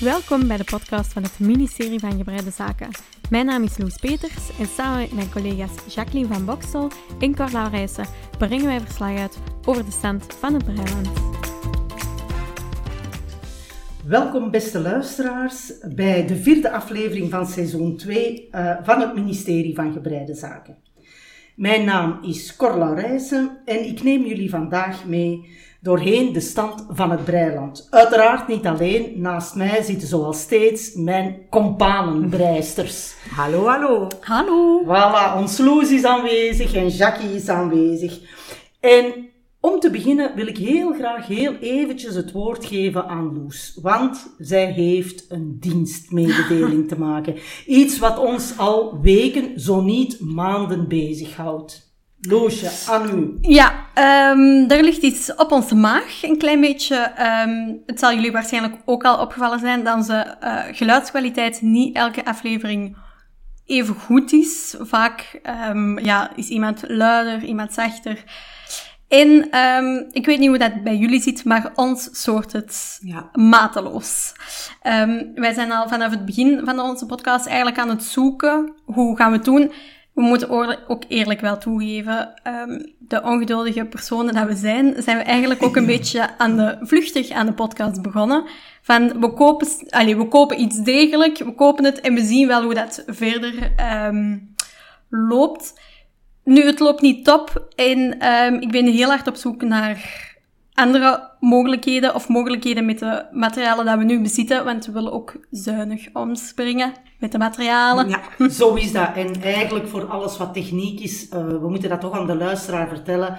Welkom bij de podcast van het ministerie van Gebreide Zaken. Mijn naam is Loes Peters en samen met mijn collega's Jacqueline van Boksel en Carla Rijssen brengen wij verslag uit over de stand van het Breiland. Welkom, beste luisteraars, bij de vierde aflevering van seizoen 2 eh, van het ministerie van Gebreide Zaken. Mijn naam is Corla Rijzen en ik neem jullie vandaag mee doorheen de stand van het Breiland. Uiteraard niet alleen, naast mij zitten zoals steeds mijn companenbreisters. Hallo, hallo. Hallo. Voilà, ons Loes is aanwezig en Jackie is aanwezig. En om te beginnen wil ik heel graag heel eventjes het woord geven aan Loes. Want zij heeft een dienstmededeling te maken. Iets wat ons al weken, zo niet maanden bezighoudt. Loesje, aan u. Ja, ehm, er ligt iets op onze maag, een klein beetje. Ehm, het zal jullie waarschijnlijk ook al opgevallen zijn dat onze eh, geluidskwaliteit niet elke aflevering even goed is. Vaak ehm, ja, is iemand luider, iemand zachter. En ehm, ik weet niet hoe dat bij jullie zit, maar ons soort het Ja. mateloos. Ehm, wij zijn al vanaf het begin van onze podcast eigenlijk aan het zoeken. Hoe gaan we het doen? We moeten oor- ook eerlijk wel toegeven, ehm, de ongeduldige personen dat we zijn, zijn we eigenlijk ook een beetje aan de, vluchtig aan de podcast begonnen. Van, we kopen, s- allee, we kopen iets degelijk, we kopen het en we zien wel hoe dat verder ehm, loopt. Nu, het loopt niet top en ehm, ik ben heel hard op zoek naar andere mogelijkheden of mogelijkheden met de materialen dat we nu bezitten, want we willen ook zuinig omspringen met de materialen. Ja. Zo is dat. En eigenlijk voor alles wat techniek is, eh, we moeten dat toch aan de luisteraar vertellen,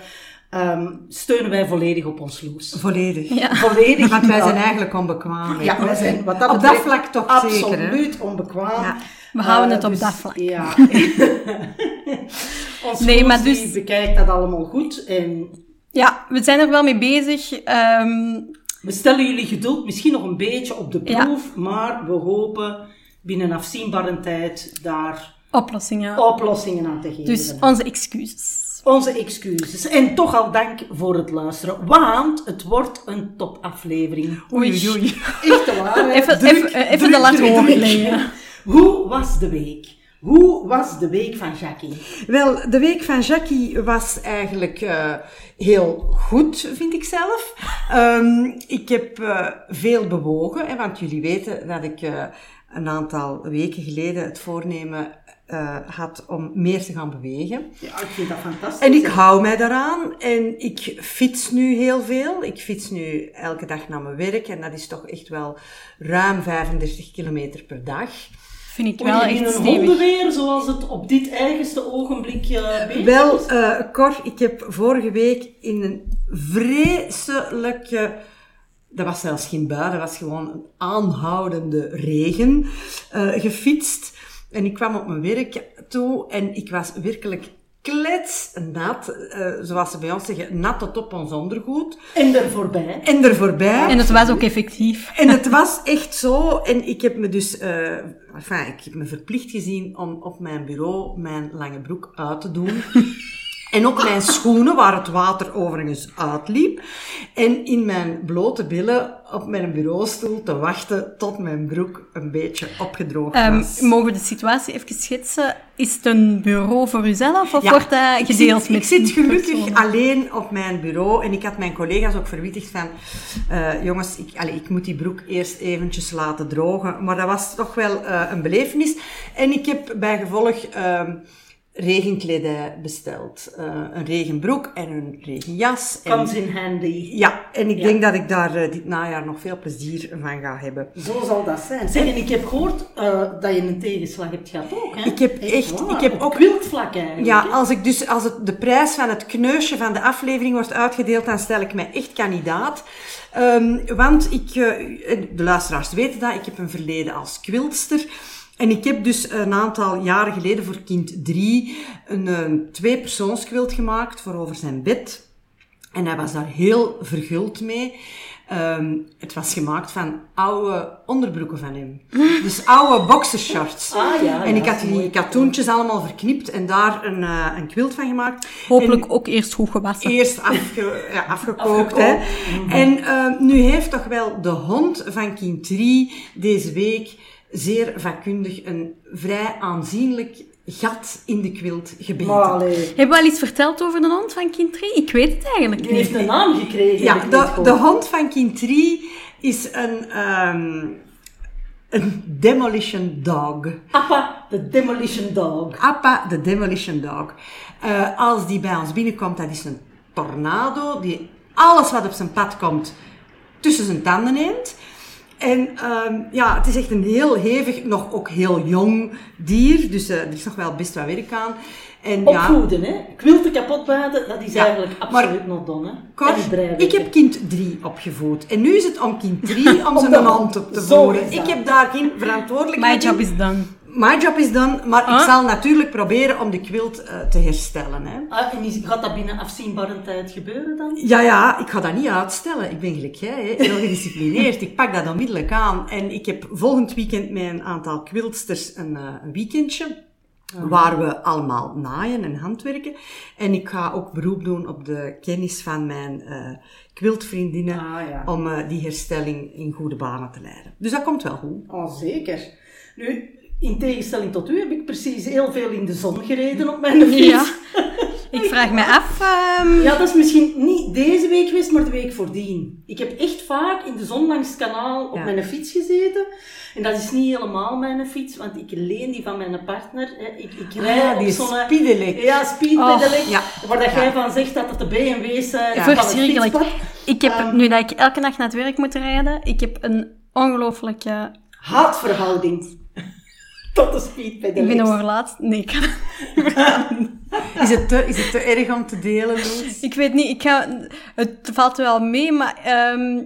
ehm, steunen wij volledig op ons Loes. Volledig. Ja. Volledig. Want wij zijn eh, eigenlijk onbekwaam. hè. Ja, wij zijn wat dat Op dat betreft vlak toch absoluut zeker, hè? onbekwaam. Ja. We houden Eh, het op dus, dat vlak. Ja. Ons Nee, nee, maar dus- die bekijkt dat allemaal goed en Ja, we zijn er wel mee bezig. Ehm, we stellen jullie geduld misschien nog een beetje op de proef, maar we hopen binnen afzienbare tijd daar Oh, oplossingen. oplossingen aan te geven. dus onze excuses. Onze excuses. En toch al dank voor het luisteren, want het wordt een topaflevering. Oei, Echt waar. hè? Even- Druk, even- eh, even druk, de lat druk, hoog druk. leggen. Hoe was de week? Hoe was de week van Jackie? Wel, de week van Jackie was eigenlijk eh, heel goed, vind ik zelf. Ehm, ik heb eh, veel bewogen, hè, want jullie weten dat ik eh, een aantal weken geleden het voornemen eh, had om meer te gaan bewegen. Ja, ik vind dat fantastisch. En ik hè? hou mij daaraan en ik fiets nu heel veel. Ik fiets nu elke dag naar mijn werk en dat is toch echt wel ruim 35 kilometer per dag. Vind ik Oei, wel in echt een stevig. hondenweer, zoals het op dit eigenste ogenblik eh bezig Wel, is. eh, Cor, ik heb vorige week in een vreselijke... Dat was zelfs geen bui, dat was gewoon een aanhoudende regen eh, gefietst. En ik kwam op mijn werk toe en ik was werkelijk kletsnat. eh, zoals ze bij ons zeggen, nat tot op ons ondergoed. En er voorbij. En er voorbij. En het was ook effectief. En het was echt zo. En ik heb me dus, eh enfin, ik heb me verplicht gezien om op mijn bureau mijn lange broek uit te doen. En ook mijn schoenen, waar het water overigens uitliep. En in mijn blote billen op mijn bureaustoel te wachten tot mijn broek een beetje opgedroogd Ehm, was. mogen we de situatie even schetsen? Is het een bureau voor uzelf of Ja. wordt dat gedeeld ik zit, met Ik zit gelukkig personen? alleen op mijn bureau en ik had mijn collega's ook verwittigd van, eh, jongens, ik, allee, ik moet die broek eerst eventjes laten drogen. Maar dat was toch wel eh, een belevenis. En ik heb bijgevolg ehm regenkledij besteld. Eh, een regenbroek en een regenjas. En, Comes in handy. ja, en ik Ja. denk dat ik daar eh, dit najaar nog veel plezier van ga hebben. Zo zal dat zijn. Zeg, en ik heb gehoord eh, dat je een tegenslag hebt gehad ook, hè? Ik heb echt- waar, ik heb op ook- wildvlak eigenlijk. Ja, hè? als, ik dus, als het, de prijs van het kneusje van de aflevering wordt uitgedeeld, dan stel ik mij echt kandidaat. Ehm, want ik, eh, en de luisteraars weten dat, ik heb een verleden als kwiltster. En ik heb dus een aantal jaren geleden voor kind 3 een, eh, een tweepersoonskwilt gemaakt voor over zijn bed. En hij was daar heel verguld mee. Ehm, het was gemaakt van oude onderbroeken van hem. Dus oude boxershorts. Ah, ja, en ja, ik had mooi. die katoentjes allemaal verknipt en daar een, eh, een quilt van gemaakt. Hopelijk ook eerst goed gewassen. Eerst afge- ja, afgekookt. Hè. Mhm. En eh, nu heeft toch wel de hond van Kind 3 deze week zeer vakkundig een vrij aanzienlijk gat in de quilt gebeten. Maar allee, Hebben we al iets verteld over de hond van kind 3? Ik weet het eigenlijk die niet. heeft een naam gekregen. Ja, heb ik de, net de gehoord. hond van Kintri is een, ehm, een demolition dog. Appa, de Demolition Dog. Appa, de demolition dog. Eh, als die bij ons binnenkomt, dat is een tornado die alles wat op zijn pad komt tussen zijn tanden neemt. En ehm, ja, het is echt een heel hevig, nog ook heel jong dier. Dus eh, er is nog wel best wat werk aan. En ja, Opvoeden, hè? Quilten kapot baden, dat is Ja, eigenlijk maar- absoluut nog done. hè. En die Kort, breien ik werken. heb kind 3 opgevoed. En nu is het om kind 3 om Om zijn de hand op te zo voeren. is dat. Ik heb daar geen My verantwoordelijkheid job in. is done. My job is done, maar Ah. ik zal natuurlijk proberen om de quilt eh, te herstellen. Hè. Ah, en is, gaat dat binnen afzienbare tijd gebeuren dan? Ja, ja, ik ga dat niet uitstellen. Ik ben gelijk jij, hè, heel gedisciplineerd. ik pak dat onmiddellijk aan. En ik heb volgend weekend met een aantal quiltsters een, eh, een weekendje. Ah. Waar we allemaal naaien en handwerken. En ik ga ook beroep doen op de kennis van mijn eh quiltvriendinnen. Ah, ja. Om eh, die herstelling in goede banen te leiden. Dus dat komt wel goed. Oh, zeker. Nu, in tegenstelling tot u heb ik precies heel veel in de zon gereden op mijn fiets. Ja. Ik vraag me af. ehm, Ja, dat is misschien niet deze week geweest, maar de week voordien. Ik heb echt vaak in de zon langs het kanaal op Ja. mijn fiets gezeten. En dat is niet helemaal mijn fiets, want ik leen die van mijn partner. hè. Ik, ik rij Ja, Ah, die op is zo'n... spiedelijk. Ja, speedpedelec. Och, ja. Waar dat Ja. jij van zegt dat het de BMW's zijn. Ja. eh, van het Verschrikkelijk. fietspad. Ik heb, eh, nu dat ik elke dag naar het werk moet rijden, ik heb een ongelooflijke... Haatverhouding. Tot de Ik speedpedelec. ben overlaat. Nee, ik, kan- Is het te, is het te erg om te delen? Loes? ik weet niet. Ik ga, het valt wel mee, maar ehm,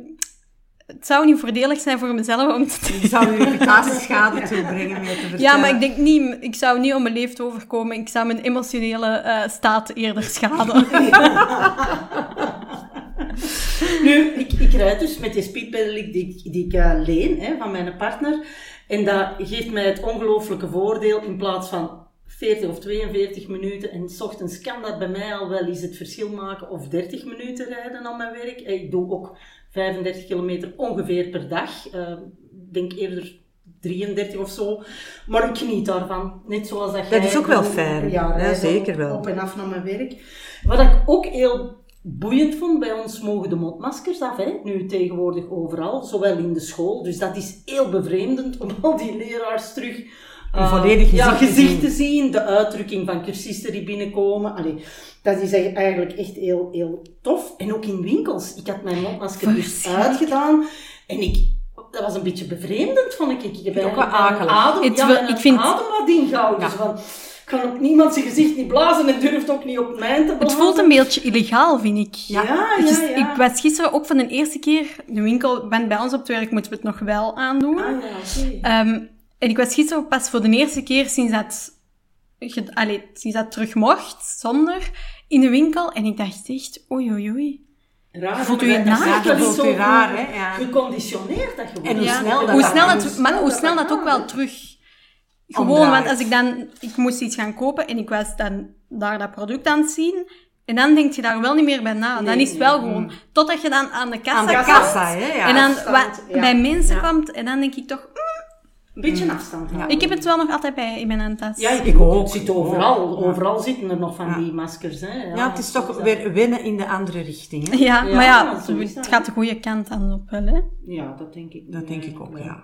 het zou niet voordelig zijn voor mezelf om te Ik zou u reputatieschade toebrengen met te vertellen. Ja, maar ik denk niet... Ik zou niet onbeleefd overkomen. Ik zou mijn emotionele eh, staat eerder schaden. Nu, ik, ik rijd dus met die speedpedelec die, ik- die ik eh, leen hè, van mijn partner. En dat geeft mij het ongelooflijke voordeel in plaats van 40 of 42 minuten. En s ochtends kan dat bij mij al wel eens het verschil maken of 30 minuten rijden aan mijn werk. En Ik doe ook 35 kilometer ongeveer per dag. Eh, Ik denk eerder 33 of zo. Maar ik geniet daarvan. Net zoals dat jij is ook wel doet. fijn. Ja, rijden zeker wel. Op en af naar mijn werk. Wat ik ook heel boeiend vond, bij ons mogen de mondmaskers af, hè? nu tegenwoordig overal, zowel in de school. Dus dat is heel bevreemdend om al die leraars terug Een eh, volledig ja, gezicht te gezicht te zien. zien, de uitdrukking van cursisten die binnenkomen. Allee, dat is e- eigenlijk echt heel, heel tof. En ook in winkels. Ik had mijn mondmasker dus Verschrikkelijk. uitgedaan en ik... Dat was een beetje bevreemdend, vond ik. Ik heb ook wel eigenlijk mijn akelig. adem, Het ja, wel- mijn ik vind- adem wat ingehouden. Ja. Dus van, ik kan op niemand zijn gezicht niet blazen en durft ook niet op mijn te blazen. Het voelt een beetje illegaal, vind ik. Ja, ja, ja. Gis- Ik was gisteren ook van de eerste keer... De winkel ben bij ons op het werk, moeten we het nog wel aandoen. Ah, ja, oké. Ehm, en ik was gisteren pas voor de eerste keer sinds dat, ge- allee, sinds dat terug mocht, zonder, in de winkel. En ik dacht echt, oei oei oei. Raar, Voelt u maar je dat- naar? dat is Ja, dat voelt zo u raar, hè? Ja. Geconditioneerd dat gewoon. En hoe Ja, snel dat hoe dat- snel hoe het, snel maar hoe dat snel dat dat ook gaat, wel hè? terug... Gewoon, Omdraait. want als ik dan... Ik moest iets gaan kopen en ik was dan daar dat product aan het zien. En dan denk je daar wel niet meer bij na. dan Nee, is het wel gewoon... Totdat je dan aan de kassa aan de komt. kassa, hè? Ja. en dan afstand, wa- ja. bij mensen Ja. komt. En dan denk ik toch... mm, Een beetje een afstand houden. ik heb het wel nog altijd bij in mijn handtas. Ja, ik, Ik ook. ook. Het zit overal. Ja. Overal zitten er nog van Ja. die maskers. Hè. Ja, dus ja, het is toch dat- weer wennen in de andere richting. Hè? Ja, Ja, maar ja, zo is dat, het hè. gaat de goede kant aan op wel, hè. Ja, dat denk ik. Dat denk ik ook, ja.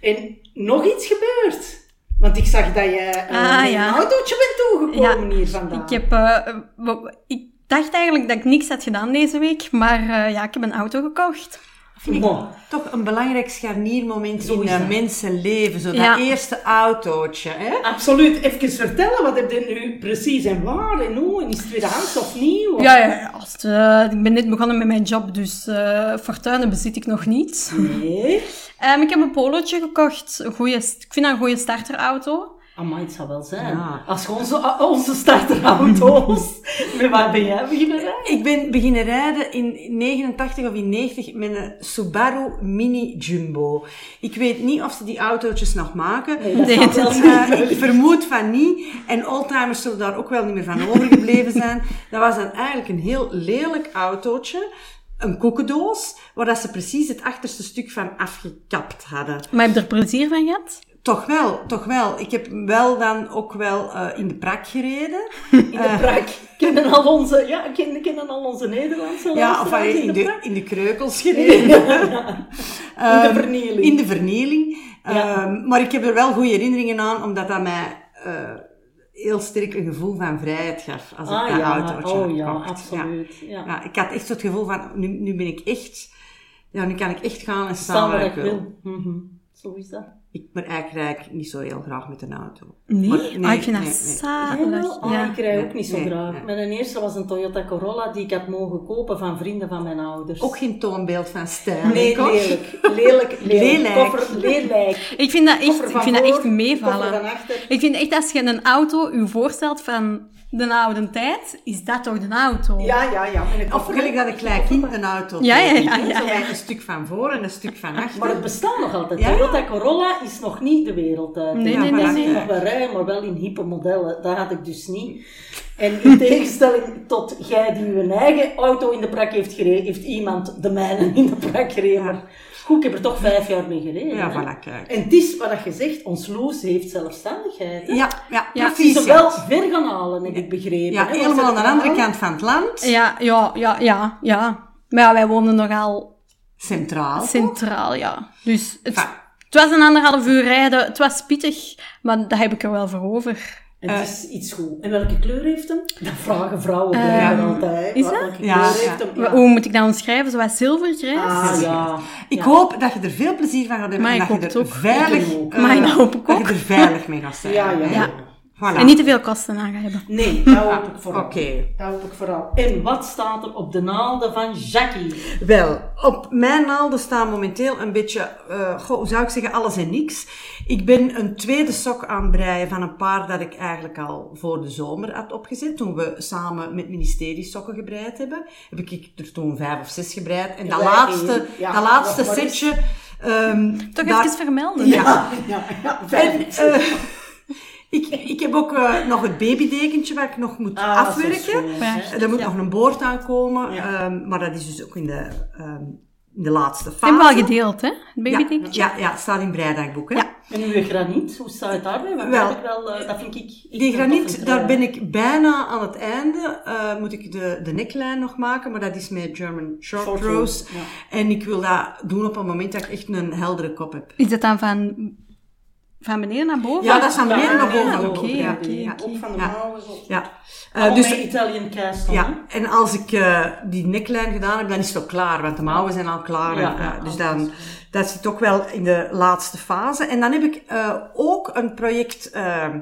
En nog iets gebeurd. Want ik zag dat je eh, Ah, met ja. een autootje bent toegekomen hier vandaag. Ik, heb, eh, w- ik dacht eigenlijk dat ik niks had gedaan deze week, maar eh, ja, ik heb een auto gekocht. Vind ik Bon. toch een belangrijk scharniermoment Zo in is dat. een mensenleven. Zo dat Ja. eerste autootje, hè? Absoluut. Even vertellen, wat heb je nu precies en waar en hoe? En is het tweedehands of nieuw? Ja, ja, ja, als het, eh, ik ben net begonnen met mijn job, dus eh fortuinen bezit ik nog niet. Nee. Ehm, ik heb een polootje gekocht. Een goeie, st- ik vind dat een goede starterauto. Amai, het zou wel zijn. Ja. Als je onze, onze starterauto's... met waar ben jij beginnen rijden? Ik ben beginnen rijden in 89 of in 90 met een Subaru Mini Jumbo. Ik weet niet of ze die autootjes nog maken. Nee, zou dat- wel Eh, ik vermoed van niet. En oldtimers zullen daar ook wel niet meer van overgebleven zijn. Dat was dan eigenlijk een heel lelijk autootje. Een koekendoos, waar dat ze precies het achterste stuk van afgekapt hadden. Maar heb je er plezier van gehad? Toch wel, toch wel. Ik heb hem wel dan ook wel eh, in de prak gereden. In Eh. de prak. Kennen al onze, ja, kennen, kennen al onze Nederlandse Ja, luisteraars of allee, in, de, prak? in de kreukels gereden. In de Ehm, vernieling. In de vernieling. Ja. Ehm, maar ik heb er wel goede herinneringen aan, omdat dat mij eh, heel sterk een gevoel van vrijheid gaf. Als ik Ah dat ja, autootje oh ja, kocht. absoluut. Ja. Ja. Ja, ik had echt zo het gevoel van, nu, nu ben ik echt... Ja, nu kan ik echt gaan en staan Staan waar wat ik ik wil. wil. Mhm. Zo is dat. Ik ben eigenlijk rijd ik niet zo heel graag met een auto. Nee? Maar- Ah, ik vind dat nee, nee. Jij zalig. wel? Ah, Ja. ik rij ook Nee, niet zo nee, graag. nee. Mijn eerste was een Toyota Corolla die ik had mogen kopen van vrienden van mijn ouders. Ook geen toonbeeld van stijl. Nee, hoor. lelijk. Lelijk, lelijk. Lelijk. Koffer, lelijk. Ik vind dat echt, Koffer van ik vind dat echt voor, meevallen. koffer van achter. Ik vind echt, als je een auto u voorstelt van de oude tijd, is dat toch de auto? Ja, ja, ja. met een Of koffer. gelijk dat een klein kind een auto Ja, ja, trekt, ja, hè. ja, Zo ja. met Een stuk van voor en een stuk van achter. Maar het bestaat nog altijd. Ja. Toyota Corolla is nog niet de wereld uit. Nee, Ja, nee, maar nee, dat nee. is nog wel rijden, maar wel in hippe modellen. Dat had ik dus niet. En in tegenstelling tot jij die uw eigen auto in de prak heeft gereden, heeft iemand de mijne in de prak gereden. Maar goed, ik heb er toch vijf jaar mee gereden. Ja, hè. voilà, kijk. En het is wat je zegt, ons Loes heeft zelfstandigheid. hè. Ja, ja, Ja, Ze is precies. er Ja, wel ver gaan halen, heb ik begrepen. Ja, hè, want helemaal ze aan de gaan andere halen. kant van het land. Ja, ja, ja, ja. ja. Maar ja, wij woonden nogal Centraal. centraal, ja. Dus het, Enfin. het was een anderhalf uur rijden. Het was pittig, maar dat heb ik er wel voor over. En het is iets goed. En welke kleur heeft hem? Eh, Dat vragen vrouwen blijven altijd. hè. is dat? Welke Ja. kleur heeft hem? Wa- Hoe moet ik dat omschrijven? Zoals zilvergrijs? Ah, ja. Ik Ja. hoop dat je er veel plezier van gaat hebben Maar en ik dat je hoop er het ook. veilig, Ik ook. eh, Maar ik hoop ik dat ook. je er veilig mee gaat zijn. Ja, ja. Hè. Ja. Voilà. En niet te veel kosten aan gaan hebben. Nee, dat hoop ik Oké. vooral. Dat hoop ik vooral. En wat staat er op de naalden van Jackie? Wel, op mijn naalden staan momenteel een beetje, eh, goh, hoe zou ik zeggen, alles en niks. Ik ben een tweede sok aan het breien van een paar dat ik eigenlijk al voor de zomer had opgezet. Toen we samen met ministerie sokken gebreid hebben, heb ik er toen vijf of zes gebreid. En dat Wij laatste, één. Ja, dat laatste nog maar eens. setje... ehm, Toch daar- even vermelden. Ja, Ja, ja en... eh, ik, ik heb ook eh, nog het babydekentje waar ik nog moet Ah, afwerken. Prachtig, Er Eh, moet nog een boord aankomen, Ja. ehm, maar dat is dus ook in de, ehm, in de laatste fase. Hebben we al gedeeld, hè? Het ja, babydekentje. ja, ja, het staat in Breidagboek. Hè? En uw graniet, hoe staat het daarmee? Want Wel. dat, heb ik wel, eh, dat vind ik... ik eh, Die vind dat graniet, een daar trein. ben ik bijna aan het einde. Eh, moet ik de, de necklijn nog maken, maar dat is met German Short, Short Rows. rows, En ik wil dat doen op een moment dat ik echt een heldere kop heb. Is dat dan van, van beneden naar boven? Ja, dat is aan Ja, beneden naar ja, boven. oké, ja, oké, ja, oké. Op van de Ja. mouwen. zo. ja. Eh, Allemaal dus met Italian cast dan, hè? Ja, en als ik eh, die neklijn gedaan heb, dan is het al klaar, want de mouwen zijn al klaar. Ja, en, eh, ja, dus alles dan, dat zit ook wel in de laatste fase. En dan heb ik eh, ook een project ehm,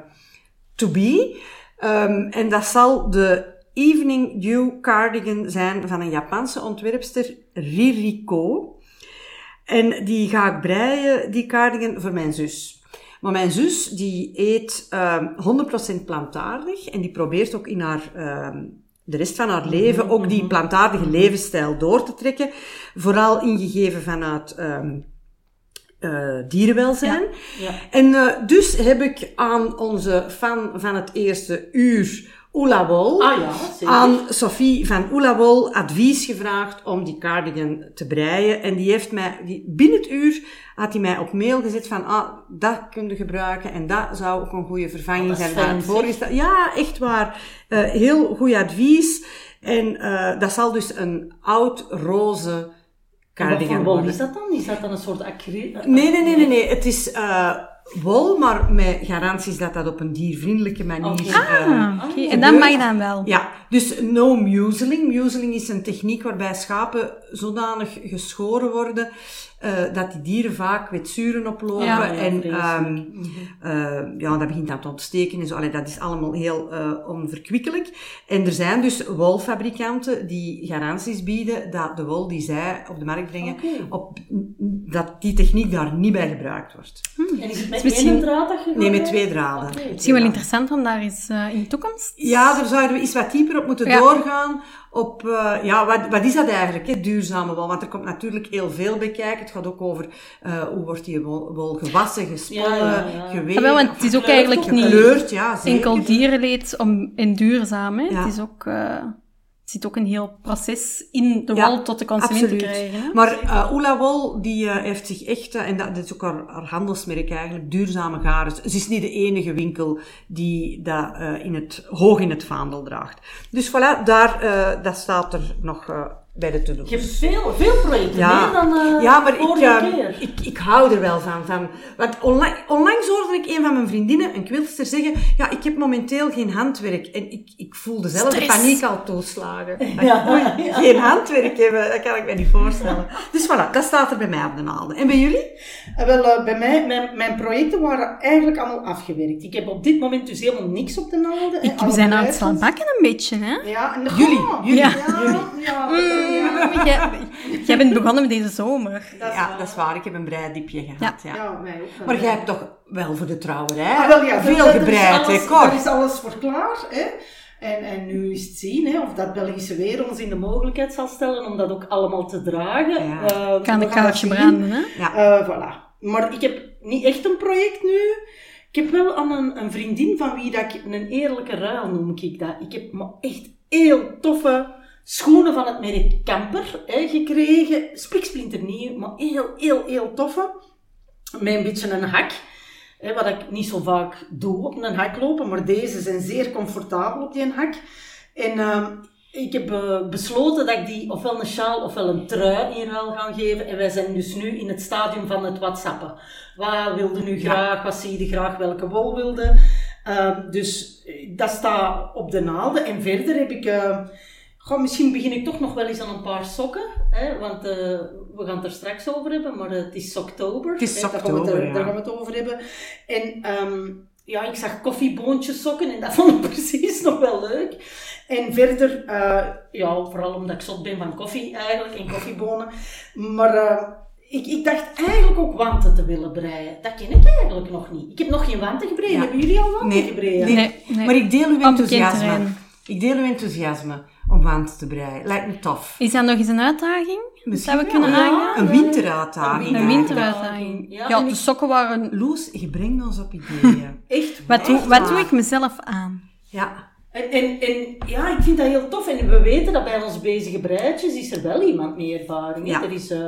to be. Ehm, en dat zal de Evening Dew Cardigan zijn van een Japanse ontwerpster, Ririko. En die ga ik breien, die cardigan, voor mijn zus. Maar mijn zus, die eet ehm 100% plantaardig en die probeert ook in haar, ehm, de rest van haar leven ook die plantaardige levensstijl door te trekken. Vooral ingegeven vanuit ehm, eh, dierenwelzijn. Ja. En eh, dus heb ik aan onze fan van het eerste uur, Oela Wol, Ah ja, zeker. aan Sophie van Oelawol advies gevraagd om die cardigan te breien. En die heeft mij, die, binnen het uur had hij mij op mail gezet van, ah, dat kun je gebruiken en dat zou ook een goede vervanging Oh, dat is zijn van fijn, het zeg. voorgestelde. Ja, echt waar. Eh, heel goed advies. En eh, dat zal dus een oud roze En Wat cardigan voor wol worden. is dat dan? Is dat dan een soort acryl? Nee, nee, nee, nee, nee. Het is eh, wol, Oh, maar met garanties dat dat op een diervriendelijke manier... Oké. eh, Ah, oké. En dat mag dan wel. ja, Dus no museling. Museling is een techniek waarbij schapen zodanig geschoren worden eh, dat die dieren vaak wetsuren oplopen. Ja, Mhm. ja, en vreselijk. ehm, eh, ja, dat begint dan te ontsteken en zo. Allee, dat is allemaal heel eh, onverkwikkelijk. En er zijn dus wolfabrikanten die garanties bieden dat de wol die zij op de markt brengen, Oh. op, dat die techniek daar niet bij gebruikt wordt. En is het met Is misschien- één draad dat je Nee, gaat met doen? twee draden. Oké. Oh, Misschien wel interessant om daar eens eh, in de toekomst. Ja, daar zouden we iets wat dieper op moeten Ja. doorgaan. Op, eh, ja, wat, wat is dat eigenlijk, hè, duurzame wol? Want er komt natuurlijk heel veel bij kijken. Het gaat ook over eh, hoe wordt die wol, wol gewassen, gesponnen, Ja, ja, ja. geweven, Ja, Ah, wel, want het is ook Gekleurd eigenlijk of niet gekleurd. Ja, zeker. enkel dierenleed om, in duurzaam. Hè. Ja. Het, is ook, eh, het zit ook een heel proces in de Ja, wol tot de consument Absoluut. te krijgen. Hè. Maar eh Oela Wol, die eh, heeft zich echt, eh, en dat, dat is ook haar, haar handelsmerk eigenlijk, duurzame garens. Ze is niet de enige winkel die dat eh, in het, hoog in het vaandel draagt. Dus voilà, daar, eh, dat staat er nog eh, bij de to-do's. Je hebt veel, veel projecten, meer dan eh, ja, maar ik, vorige eh, keer. ik, ik hou er wel van. van want onla- onlangs hoorde ik een van mijn vriendinnen, een quiltster, zeggen... Ja, ik heb momenteel geen handwerk. En ik, ik voelde zelf de Stress. paniek al toeslagen. Dat Ja, ik ooit ja. geen handwerk hebben, dat kan ik me niet voorstellen. Dus voilà, dat staat er bij mij op de naalden. En bij jullie? Eh, Wel, eh, bij mij, mijn, mijn projecten waren eigenlijk allemaal afgewerkt. Ik heb op dit moment dus helemaal niks op de naalden. eh, Ik, we alle zijn aan het prijzen. slaan bakken een beetje, hè? Ja, en Jullie, Ja, jullie, Oh, Ja, jullie. ja, ja. Mm, jij, jij bent begonnen met deze zomer. Dat is ja, waar. dat is waar. Ik heb een breidiepje gehad, ja. Ja, mij ook wel. Maar jij hebt toch wel voor de trouwerij Ah, wel, ja, veel er- er is gebreid, alles- hè, Cor? Er is alles voor klaar, hè. En, en nu is het zien hè, of dat Belgische weer ons in de mogelijkheid zal stellen om dat ook allemaal te dragen. Ja. Eh, we Ik kan een gaan dat kaaltje zien. branden, hè? Eh, voilà. Maar ik heb niet echt een project nu. Ik heb wel aan een, een vriendin van wie dat ik een eerlijke ruil noem ik dat. Ik heb maar echt heel toffe schoenen van het merk Kamper hè, gekregen. Spiksplinternieuw, maar heel, heel, heel toffe. Met een beetje een hak. Hè, wat ik niet zo vaak doe, op een hak lopen. Maar deze zijn zeer comfortabel op die hak. En ehm, ik heb eh, besloten dat ik die ofwel een sjaal ofwel een trui in ruil ga geven. En wij zijn dus nu in het stadium van het whatsappen. Wat wilde nu graag? Wat zie je graag? Welke wol wilde? Ehm, dus eh, dat staat op de naalden. En verder heb ik... eh, goh, misschien begin ik toch nog wel eens aan een paar sokken. Hè, want eh, we gaan het er straks over hebben. Maar eh, het is Soktober. Het is hè, daar gaan we het er- Soktober, ja. Daar gaan we het over hebben. En... ehm, ja, ik zag koffieboontjes sokken en dat vond ik precies nog wel leuk. En verder, eh, ja, vooral omdat ik zot ben van koffie eigenlijk en koffiebonen. Maar eh, ik, ik dacht eigenlijk ook wanten te willen breien. Dat ken ik eigenlijk nog niet. Ik heb nog geen wanten gebreid. Ja. Hebben jullie al wanten Nee, gebreid? nee. Nee, nee. Maar ik deel uw Onbekend enthousiasme. terrein. Ik deel uw enthousiasme om wand te breien. Lijkt me tof. Is dat nog eens een uitdaging? Misschien dat we kunnen wel. aangaan? Een winteruitdaging. Een eigenlijk. winteruitdaging. Ja, Ja, en de ik- sokken waren... Loes, je brengt ons op ideeën. Echt Wat doe, waar. wat doe ik mezelf aan? ja. En, en, en ja, ik vind dat heel tof. En we weten dat bij ons bezige breidjes is er wel iemand met ervaring. hè. Ja. Er is, eh,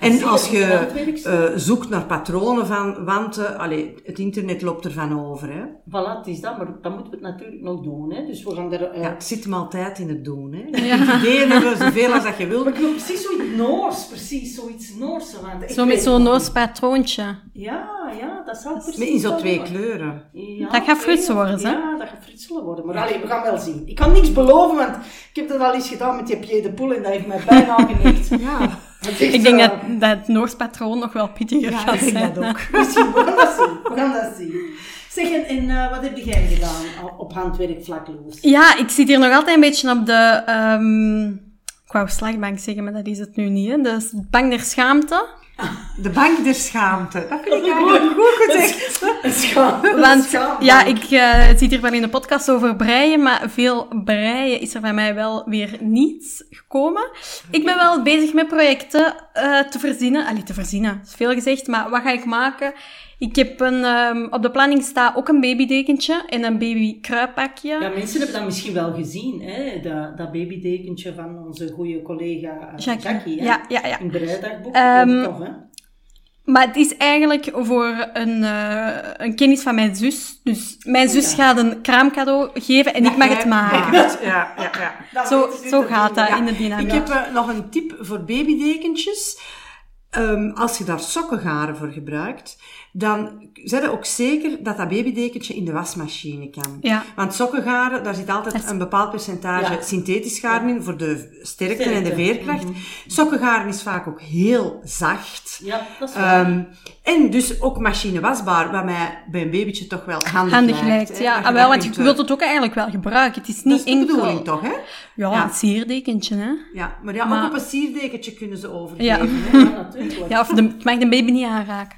En zeker als je een handwerkster. eh, zoekt naar patronen van wanten, allee, het internet loopt ervan over. Hè? Voilà, het is dat. Maar dan moeten we het natuurlijk nog doen. Hè. Dus we gaan daar... eh, Ja, het zit hem altijd in het doen. Hè? Ideeën hebben zoveel als dat je Maar wilt. ik wil precies zoiets Noors, precies zoiets Noors. Want ik Zo met weet- zo'n Noors patroontje. Ja, ja, dat zal precies. Met in zo zo'n twee kleuren. Ja, Dat gaat frutselen worden, ja, hè? Ja, dat gaat frutselen worden. Maar allee, we gaan wel zien. Ik kan niks beloven, want ik heb dat al eens gedaan met die Pierre de Poel en dat heeft mij bijna geneekt. Ja, Ik eh, denk dat, dat het Noors patroon nog wel pittiger ja gaat ik zijn. denk dat ook. Misschien, we gaan dat zien. We gaan dat zien. Zeg, en, en eh, wat heb jij gedaan op- op handwerkvlak, Loes? Ja, ik zit hier nog altijd een beetje op de... ehm ik wou slagbank zeggen, maar dat is het nu niet. Hè. De bank der schaamte. De bank der schaamte. Dat vind ik eigenlijk goed gezegd. Schaam. Want Schaam. ja, ik eh, het zit hier wel in de podcast over breien, maar veel breien is er bij mij wel weer niet gekomen. Ik ben wel bezig met projecten eh, te verzinnen. Allee, te verzinnen, dat is veel gezegd, maar wat ga ik maken? Ik heb een, ehm, op de planning staat ook een babydekentje en een babykruippakje. Ja, mensen hebben dat misschien wel gezien, hè? Dat, dat babydekentje van onze goede collega eh, Jackie. Jackie. hè? Ja, ja, ja. In Breidagboek. Ehm, tof, hè? Maar het is eigenlijk voor een, eh, een kennis van mijn zus. Dus mijn Oh zus gaat een kraamcadeau geven en ik mag het maken. Ja, ja, ja. Dat Zo, weten ze zo te gaat doen. dat Ja, in de dynamiek. Ik heb eh, nog een tip voor babydekentjes. Ehm, als je daar sokkengaren voor gebruikt, dan zet je ook zeker dat dat babydekentje in de wasmachine kan. Ja. Want sokkengaren, daar zit altijd een bepaald percentage Ja. synthetisch garen in voor de sterkte, en de Sterkte. veerkracht. Sokkengaren is vaak ook heel zacht. Ja, dat is waar. Ehm, en dus ook machinewasbaar, wat mij bij een babytje toch wel handig, Handig lijkt. lijkt, hè. ja. Dat Ah, wel, dat want kunt, je eh, wilt het ook eigenlijk wel gebruiken. Het is Dat niet is de bedoeling enkel... toch, hè? Ja, Ja. een sierdekentje, hè. Ja, maar ja, Maar- ook op een sierdekentje kunnen ze overgeven. Ja. hè. Ja, natuurlijk. Ja, of de, het mag de baby niet aanraken.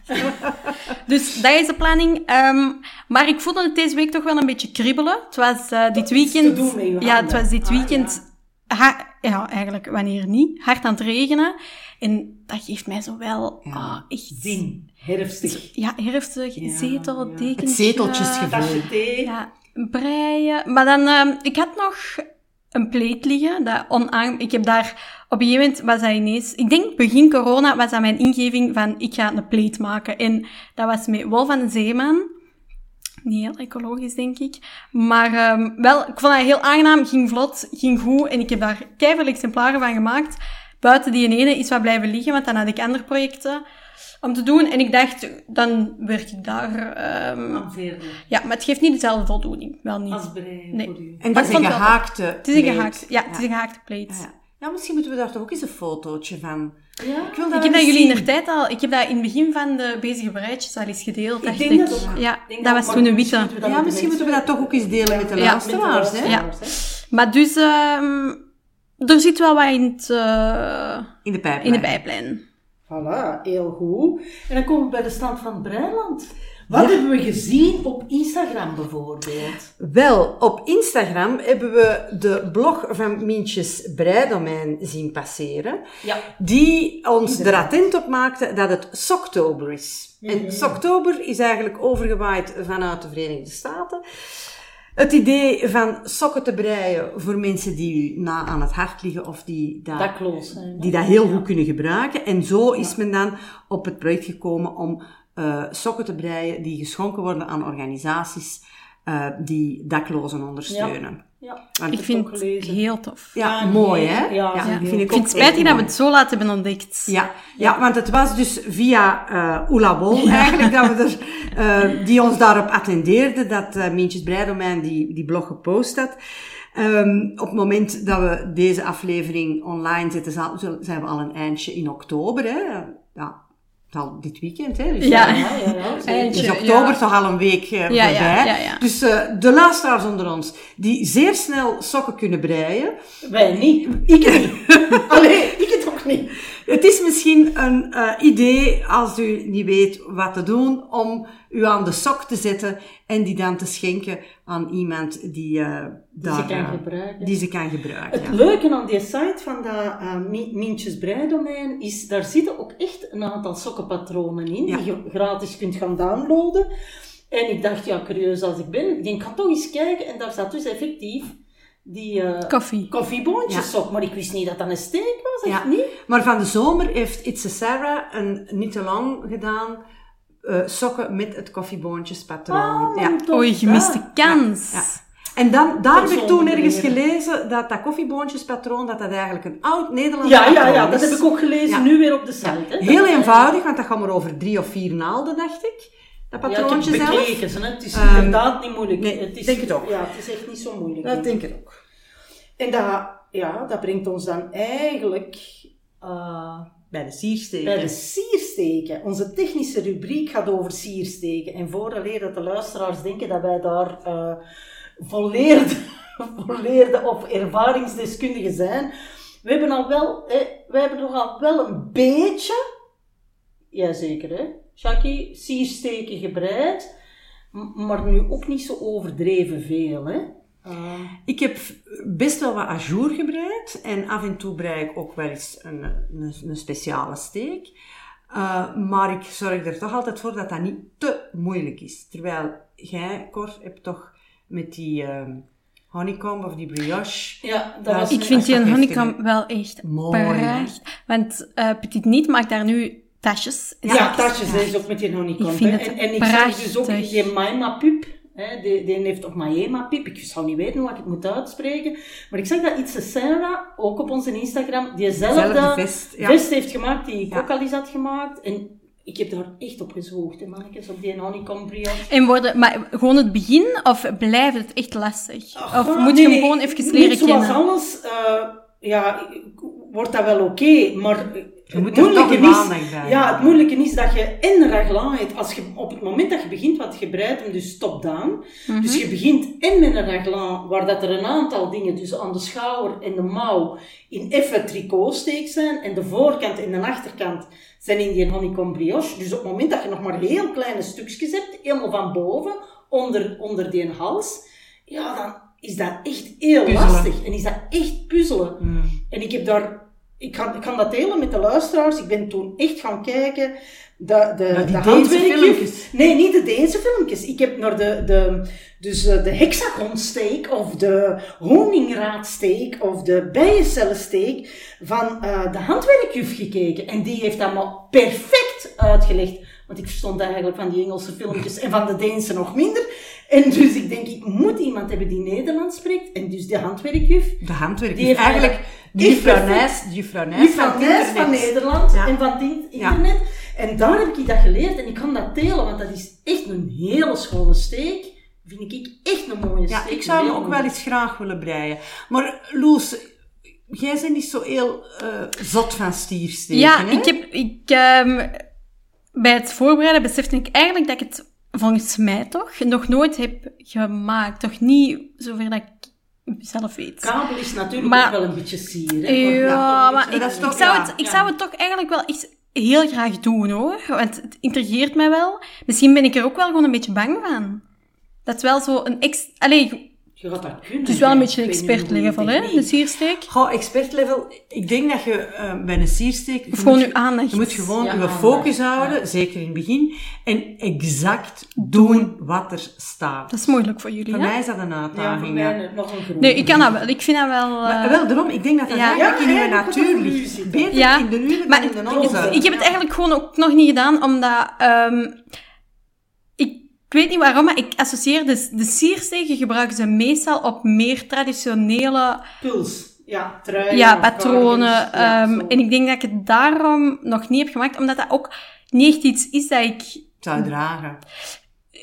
dus dat is de planning. Ehm, maar ik voelde het deze week toch wel een beetje kriebelen. Het was eh, dit iets te weekend... doen met je ja, het handen. was dit Ah, weekend... ha- ja, eigenlijk wanneer niet. Hard aan het regenen. En dat geeft mij zo wel ah, echt... Zin, herfstig. Ja, herfstig, Ja, zetel, ja. dekentje. Het zeteltjesgevoel. Tasje thee. Ja, breien. Maar dan, ehm, ik had nog een pleet liggen. Dat onaan... Ik heb daar, op een gegeven moment was dat ineens, ik denk begin corona, was dat mijn ingeving van ik ga een pleet maken. En dat was met Wol van de Zeeman. Niet heel ecologisch, denk ik. Maar ehm, wel, ik vond dat heel aangenaam, ging vlot, ging goed. En ik heb daar keiveel exemplaren van gemaakt. Buiten die ene is wat blijven liggen, want dan had ik andere projecten om te doen. En ik dacht, dan werk ik daar ehm, Van verder. ja, maar het geeft niet dezelfde voldoening. Wel niet. Als brei Nee. voor u. Maar En dat is ik een vond wel- gehaakte Het is een plate. gehaakt, ja, het is een gehaakte plate. Ja. Ja, misschien moeten we daar toch ook eens een fotootje van. Ja. Ik, wil Ik wel heb dat Nou, eens jullie in zien. de tijd al, ik heb dat in het begin van de bezige bereidjes al eens gedeeld. Ik denk dat ook. Ja, Ik denk dat dat was ook, toen een maar witte. misschien Ja, misschien moeten we dat toch ook eens delen met de Ja. luisteraars. Hè? Ja. Maar dus, ehm, er zit wel wat in, het, eh, In de pijp. in de bijplan. Voilà, heel goed. En dan komen we bij de stand van Breiland. Wat hebben we gezien op Instagram bijvoorbeeld? Wel, op Instagram hebben we de blog van Mientjes Breidomein zien passeren. Ja. Die ons er attent op maakte dat het Soktober is. En Soktober is eigenlijk overgewaaid vanuit de Verenigde Staten. Het idee van sokken te breien voor mensen die u na aan het hart liggen of die daar Dat klopt. zijn. die dat heel goed kunnen gebruiken. En zo is men dan op het project gekomen om eh, sokken te breien die geschonken worden aan organisaties eh, die daklozen ondersteunen. Ja. Want- Ik ook vind het gelezen. heel tof. ja, Ah, mooi nee. hè? Ja, ja. vind ik Ik vind ook het spijtig heel dat we mooi. het zo laat hebben ontdekt. Ja, ja, want het was dus via eh Oela Wol eigenlijk dat we er, eh, die ons daarop attendeerde dat eh Mientjes Breidomein die, die blog gepost had. Ehm, op het moment dat we deze aflevering online zetten, zal- zullen- zijn we al een eindje in oktober. Hè? Ja, het is al dit weekend. Hè? Dus Ja. Ja, ja, ja, zeker. Eindje. het is oktober ja. toch al een week eh, ja, voorbij. ja, ja. Dus eh, de luisteraars onder ons die zeer snel sokken kunnen breien, Wij niet. Ik niet. Allee, ik het ook niet. Het is misschien een eh, idee, als u niet weet wat te doen, om u aan de sok te zetten en die dan te schenken aan iemand die, eh, daar, ze kan eh, gebruiken. die ze kan gebruiken. Het ja. leuke aan die site van dat eh, Mi- Mintjes Breidomein is, daar zitten ook echt een aantal sokkenpatronen in, Ja. die je gratis kunt gaan downloaden. En ik dacht, ja, curieus als ik ben, ik denk, ik ga toch eens kijken. En daar zat dus effectief die eh Koffie. koffieboontjes Ja. op. Maar ik wist niet dat dat een steek was, echt Ja. niet. Maar van de zomer heeft Itse Sarah een niet te lang gedaan eh, sokken met het Ah, koffieboontjespatroon. ja. tof, Oei, gemiste ja. kans. Ja, En dan, daar heb ik zo'n toen manier. ergens gelezen dat dat koffieboontjespatroon dat dat eigenlijk een oud Nederlands Ja, ja, patroon ja, dat is. heb ik ook gelezen, Ja. nu weer op de site. hè. Heel Dat- eenvoudig, want dat gaat maar over drie of vier naalden, dacht ik. Dat patroontje ja, ik heb zelf. bekeken, ze, hè. Het is Ehm, inderdaad niet moeilijk. nee, het is, denk het ook. Ja, het is echt niet zo moeilijk. Dat denk ik. denk ik ook. En dat, ja, dat brengt ons dan eigenlijk eh, Bij de bij de siersteken. siersteken. Onze technische rubriek gaat over siersteken. En vooraleer dat de luisteraars denken dat wij daar eh volleerde, volleerde of ervaringsdeskundigen zijn, we hebben al wel, eh, we hebben toch al wel een beetje, jazeker hè, Jackie, siersteken gebreid, m- maar nu ook niet zo overdreven veel hè. Eh, Ik heb best wel wat à jour gebreid. En af en toe brei ik ook wel eens een, een, een speciale steek. Eh, maar ik zorg er toch altijd voor dat dat niet te moeilijk is. Terwijl jij, Cor, hebt toch met die ehm, honeycomb of die brioche... ja, dat Ja, was Ik nu- vind die Echt een heftig, honeycomb wel echt Mooi, hè? prachtig. Want eh Petit Niet maakt daar nu tasjes. Ja, tasjes, hè, is ook met die honeycomb. Ik vind hè. het en, en ik zag dus ook prachtig. die Maima Pup, Hè, die, die heeft op Mayema Pip, ik zou niet weten hoe ik het moet uitspreken. Maar ik zag dat Itse Sarah, ook op onze Instagram, diezelfde Zelfde vest, ja. vest heeft gemaakt die ik Ja. ook al eens had gemaakt. En ik heb daar echt op gezoogd, hè, mannetjes, op die nou honeycomb brioche. En worden, maar gewoon het begin, of blijft het echt lastig? of Ah, nee, moet je hem nee, gewoon even niet leren zoals kennen? alles, eh, ja, wordt dat wel oké, maar... Je moet het er moeilijke toch is, maandag bij. ja, het moeilijke is dat je en raglan hebt. Als je, op het moment dat je begint, want je breidt hem dus top-down. Mhm. Dus je begint en met een raglan, waar dat er een aantal dingen tussen aan de schouder en de mouw in effe tricotsteek zijn. En de voorkant en de achterkant zijn in die honeycomb brioche. Dus op het moment dat je nog maar heel kleine stukjes hebt, helemaal van boven, onder, onder die hals, ja, dan is dat echt heel Puzzelen. lastig. En is dat echt puzzelen. Mm. En ik heb daar... Ik kan, ik kan dat delen met de luisteraars. Ik ben toen echt gaan kijken. De, de, Nou, die de Deense handwerkjuf- filmpjes. Nee, niet de Deense filmpjes. Ik heb naar de, de, dus eh, de hexagonsteek of de honingraadsteek of de bijencellensteek van eh, de handwerkjuf gekeken. En die heeft dat maar perfect uitgelegd. Want ik verstond eigenlijk van die Engelse filmpjes en van de Deense nog minder. En dus ik denk, ik moet iemand hebben die Nederlands spreekt. En dus de handwerkjuf. De handwerk. Die Dus heeft eigenlijk eigenlijk- de die juffrouw perfect- Nijs, de juffrouw Nijs Niet van van Nijs van internet. Nederland Ja. en van dit Ja. internet. En daar heb ik dat geleerd en ik kan dat delen, want dat is echt een hele schone steek. Vind ik echt een mooie Ja, steek. ik zou hem Heel ook mooi. wel eens graag willen breien. Maar Loes, jij bent niet zo heel eh, zot van stiersteken, Ja, hè? ik heb, ik, ehm, bij het voorbereiden besefte ik eigenlijk dat ik het volgens mij toch nog nooit heb gemaakt. Toch niet zover dat ik zelf weet. Kabel is natuurlijk Maar- ook wel een beetje sier. hè. Ja, maar maar dat ik, is toch- ik, zou ja, het, ik ja. zou het toch eigenlijk wel iets heel graag doen hoor. Want het intrigeert mij wel. Misschien ben ik er ook wel gewoon een beetje bang van. Dat is wel zo een ex... Allee, Je gaat dat kunnen. het is wel een hè. beetje een Ik weet niet expert hoe je level hè, dus- de techniek- siersteek. Goh, expert level, ik denk dat je eh, bij een siersteek... Of gewoon uw aandacht. Je moet Ja, gewoon je aandacht, focus ja. houden, zeker in het begin, en exact doen wat er staat. Dat is moeilijk voor jullie, Voor hè? mij is dat een Ja, voor uitdaging. ja. mij nog een grote. Nee, ik kan dat wel. Ik vind dat wel... eh, Maar wel, daarom, ik denk dat dat Ja. eigenlijk Ja, in je eigenlijk natuur ook een ligt. illusie. Beter Ja, in de uwe maar dan in de ik- onze. Ik heb het eigenlijk gewoon ook nog niet gedaan, omdat... ehm, ik, ik weet niet waarom, maar ik associeer... De, de sierstegen gebruiken ze meestal op meer traditionele Puls. Ja, truien. ja, of patronen. kabels, ja, ehm, zo. en ik denk dat ik het daarom nog niet heb gemaakt, omdat dat ook niet echt iets is dat ik... zou dragen.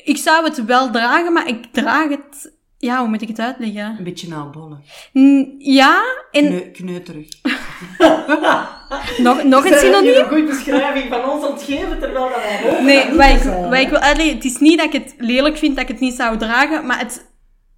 Ik zou het wel dragen, maar ik draag het... Ja, hoe moet ik het uitleggen? Een beetje naalbollig. N- ja, en Kneu- Kneuterig. nog, nog een Zijn jullie synoniem. Een goede beschrijving van ons ontgeven, terwijl dat wij hopen dat Nee, niet wat zo ik, zijn, wat hè. ik wil uitleggen, het is niet dat ik het lelijk vind dat ik het niet zou dragen, maar het,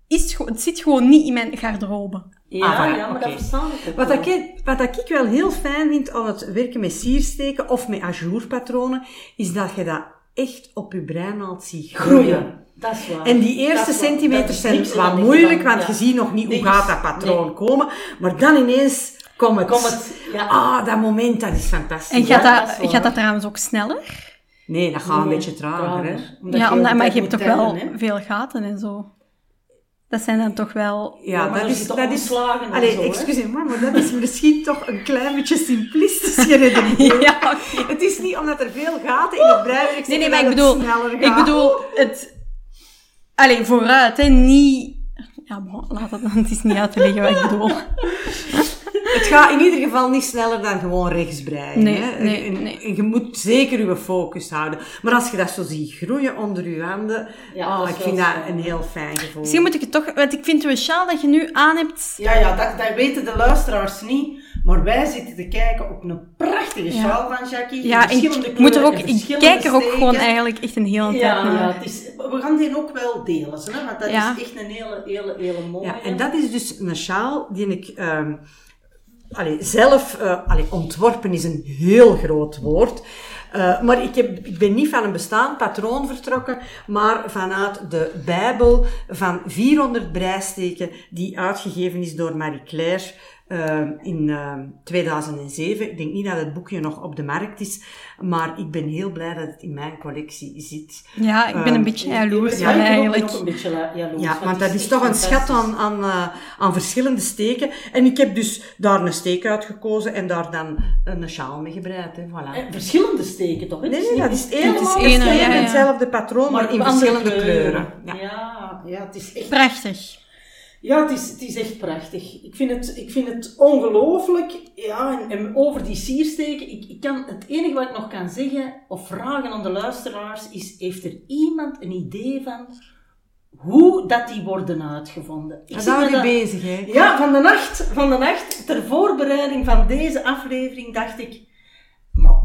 is, gewoon- het zit gewoon niet in mijn garderobe. Ja, Ah, voilà, ja, maar oké. dat verstaan ik ook Wat, wel. dat ik, wat dat ik wel heel fijn vind aan het werken met siersteken of met ajourpatronen, is dat je dat echt op je breinaald ziet groeien. groeien. Mm. Dat is waar. En die eerste Dat is waar. Dat centimeters is zijn niks wat dan ik moeilijk, dan- want ja. je ziet nog niet hoe Niks. gaat dat patroon Nee. komen. Maar dan ineens komt het. Komt het, ja. Ah, dat moment, dat is fantastisch. En Ja, gaat dat is dat, waar. gaat dat trouwens ook sneller? Nee, dat gaat een beetje trager. Hè? ja, de omdat, maar tijd je hebt moet toch tellen, wel hè. veel gaten en zo. Dat zijn dan toch wel... Ja, Ja, maar dat er is, zitten dat is, omslagen en allee, zo, hè? excuseer maar, maar dat is misschien toch een klein beetje simplistisch geredeneerd. Ja, oké. Het is niet omdat er veel gaten in het breiwerk Nee, zitten nee, maar ik dat het bedoel, sneller ik gaat. bedoel het. Alleen vooruit, hè? Niet. Ja, bon, laat dat dan. Het is niet uit te leggen wat ik bedoel. Het gaat in ieder geval niet sneller dan gewoon rechts breien. Nee, hè. nee, En- en- nee. en je moet zeker je focus houden. Maar als je dat zo ziet groeien onder je handen, Ja, oh, dat is ik vind wel dat fijn. een heel fijn gevoel. Misschien moet ik het toch. Want ik vind de sjaal dat je nu aan hebt. Ja, ja dat, dat weten de luisteraars niet. Maar wij zitten te kijken op een prachtige Ja. sjaal van Jackie. Ja, in verschillende ik, moet er kleuren ook, en ik verschillende kijk er ook steken. gewoon eigenlijk echt een hele tijd Ja, ja, naar. het is, we gaan die ook wel delen, zo, hè, want dat Ja. is echt een hele, hele, hele mooie. Ja, en dat is dus een sjaal die ik ehm, allee, zelf... eh, allee, ontworpen is een heel groot woord. Eh, maar ik, heb, ik ben niet van een bestaand patroon vertrokken, maar vanuit de Bijbel van 400 breisteken die uitgegeven is door Marie Claire eh, in eh, 2007. Ik denk niet dat het boekje nog op de markt is, maar ik ben heel blij dat het in mijn collectie zit. Ja, ik ben een Eh, beetje jaloers Ah. Ja, ik van ben ook- ben eigenlijk. ook een beetje la- jaloers. Ja, want dat het is toch een echt schat fantastisch. aan, aan, eh, aan verschillende steken. En ik heb dus daar een steek uitgekozen en daar dan een sjaal mee gebreid. Hè. Voilà. Eh, Verschillende steken toch? hè? Nee, Het is nee, niet dat is helemaal helemaal één, hetzelfde, ja, ja. hetzelfde patroon, maar, in op andere verschillende kleuren. Ja. Ja. Ja, het is echt, Prachtig. ja, het is, het is echt prachtig. Ik vind het, ik vind het ongelooflijk. Ja, en, en over die siersteken, ik, ik kan, het enige wat ik nog kan zeggen of vragen aan de luisteraars is, heeft er iemand een idee van hoe dat die worden uitgevonden? Ik En zit daar met ben je dat- bezig, hè? Ja, van de, nacht, van de nacht, ter voorbereiding van deze aflevering, dacht ik, maar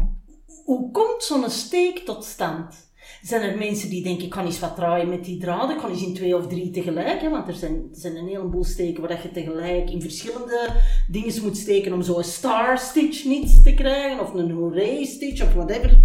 hoe komt zo'n steek tot stand? Zijn er mensen die denken, ik kan eens wat draaien met die draden, ik kan eens in twee of drie tegelijk, hè, want er zijn, er zijn een heleboel steken waar dat je tegelijk in verschillende dingen moet steken om zo'n star stitch niet te krijgen, of een hooray stitch, of whatever.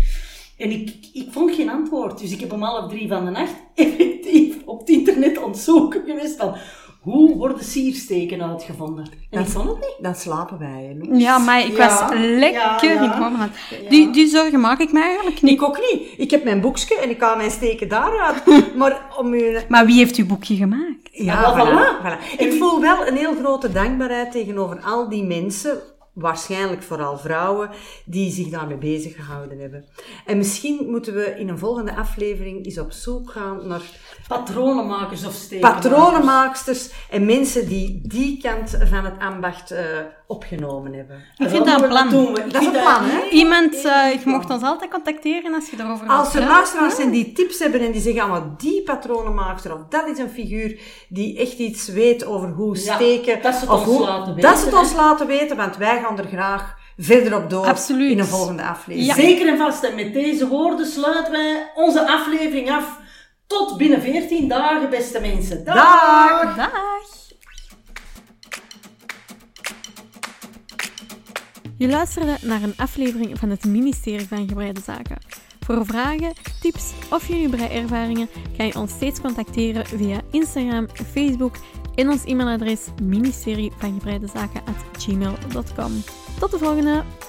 En ik, ik vond geen antwoord, dus ik heb om half drie van de nacht effectief op het internet ontzoeken geweest van, hoe worden siersteken uitgevonden? En ik Dat- vond het niet. Dan slapen wij, hè, Lou. Ja, maar ik Ja, was lekker ja, ja. in Homerland. Die, die zorgen maak ik mij eigenlijk niet. Ik ook niet. Ik heb mijn boekje en ik haal mijn steken daaruit. Maar om u... Maar wie heeft uw boekje gemaakt? Ja, wel, voilà. voilà. voilà. Ik voel wel een heel grote dankbaarheid tegenover al die mensen, waarschijnlijk vooral vrouwen, die zich daarmee bezig gehouden hebben. En misschien moeten we in een volgende aflevering eens op zoek gaan naar Patronenmakers of steken. patronenmaaksters en mensen die die kant van het ambacht eh, opgenomen hebben. Ik vind dat een plan. Dat is een plan, hè? Iemand, eh, je mocht ons altijd contacteren als je erover wilt Als er praten. luisteraars zijn die tips hebben en die zeggen, ah, maar die patronenmaakster of dat is een figuur die echt iets weet over hoe Ja, steken. dat ze het of ons hoe, laten Dat weten, ze het hè. ons laten weten, want wij gaan er graag verder op door Absoluut. in een volgende aflevering. Ja. Zeker en vast. En met deze woorden sluiten wij onze aflevering af. Tot binnen 14 dagen, beste mensen. Dag! Dag! Dag. Je luisterde naar een aflevering van het Ministerie van Gebreide Zaken. Voor vragen, tips of jullie breiervaringen kan je ons steeds contacteren via Instagram, Facebook en ons e-mailadres ministerie van Tot de volgende!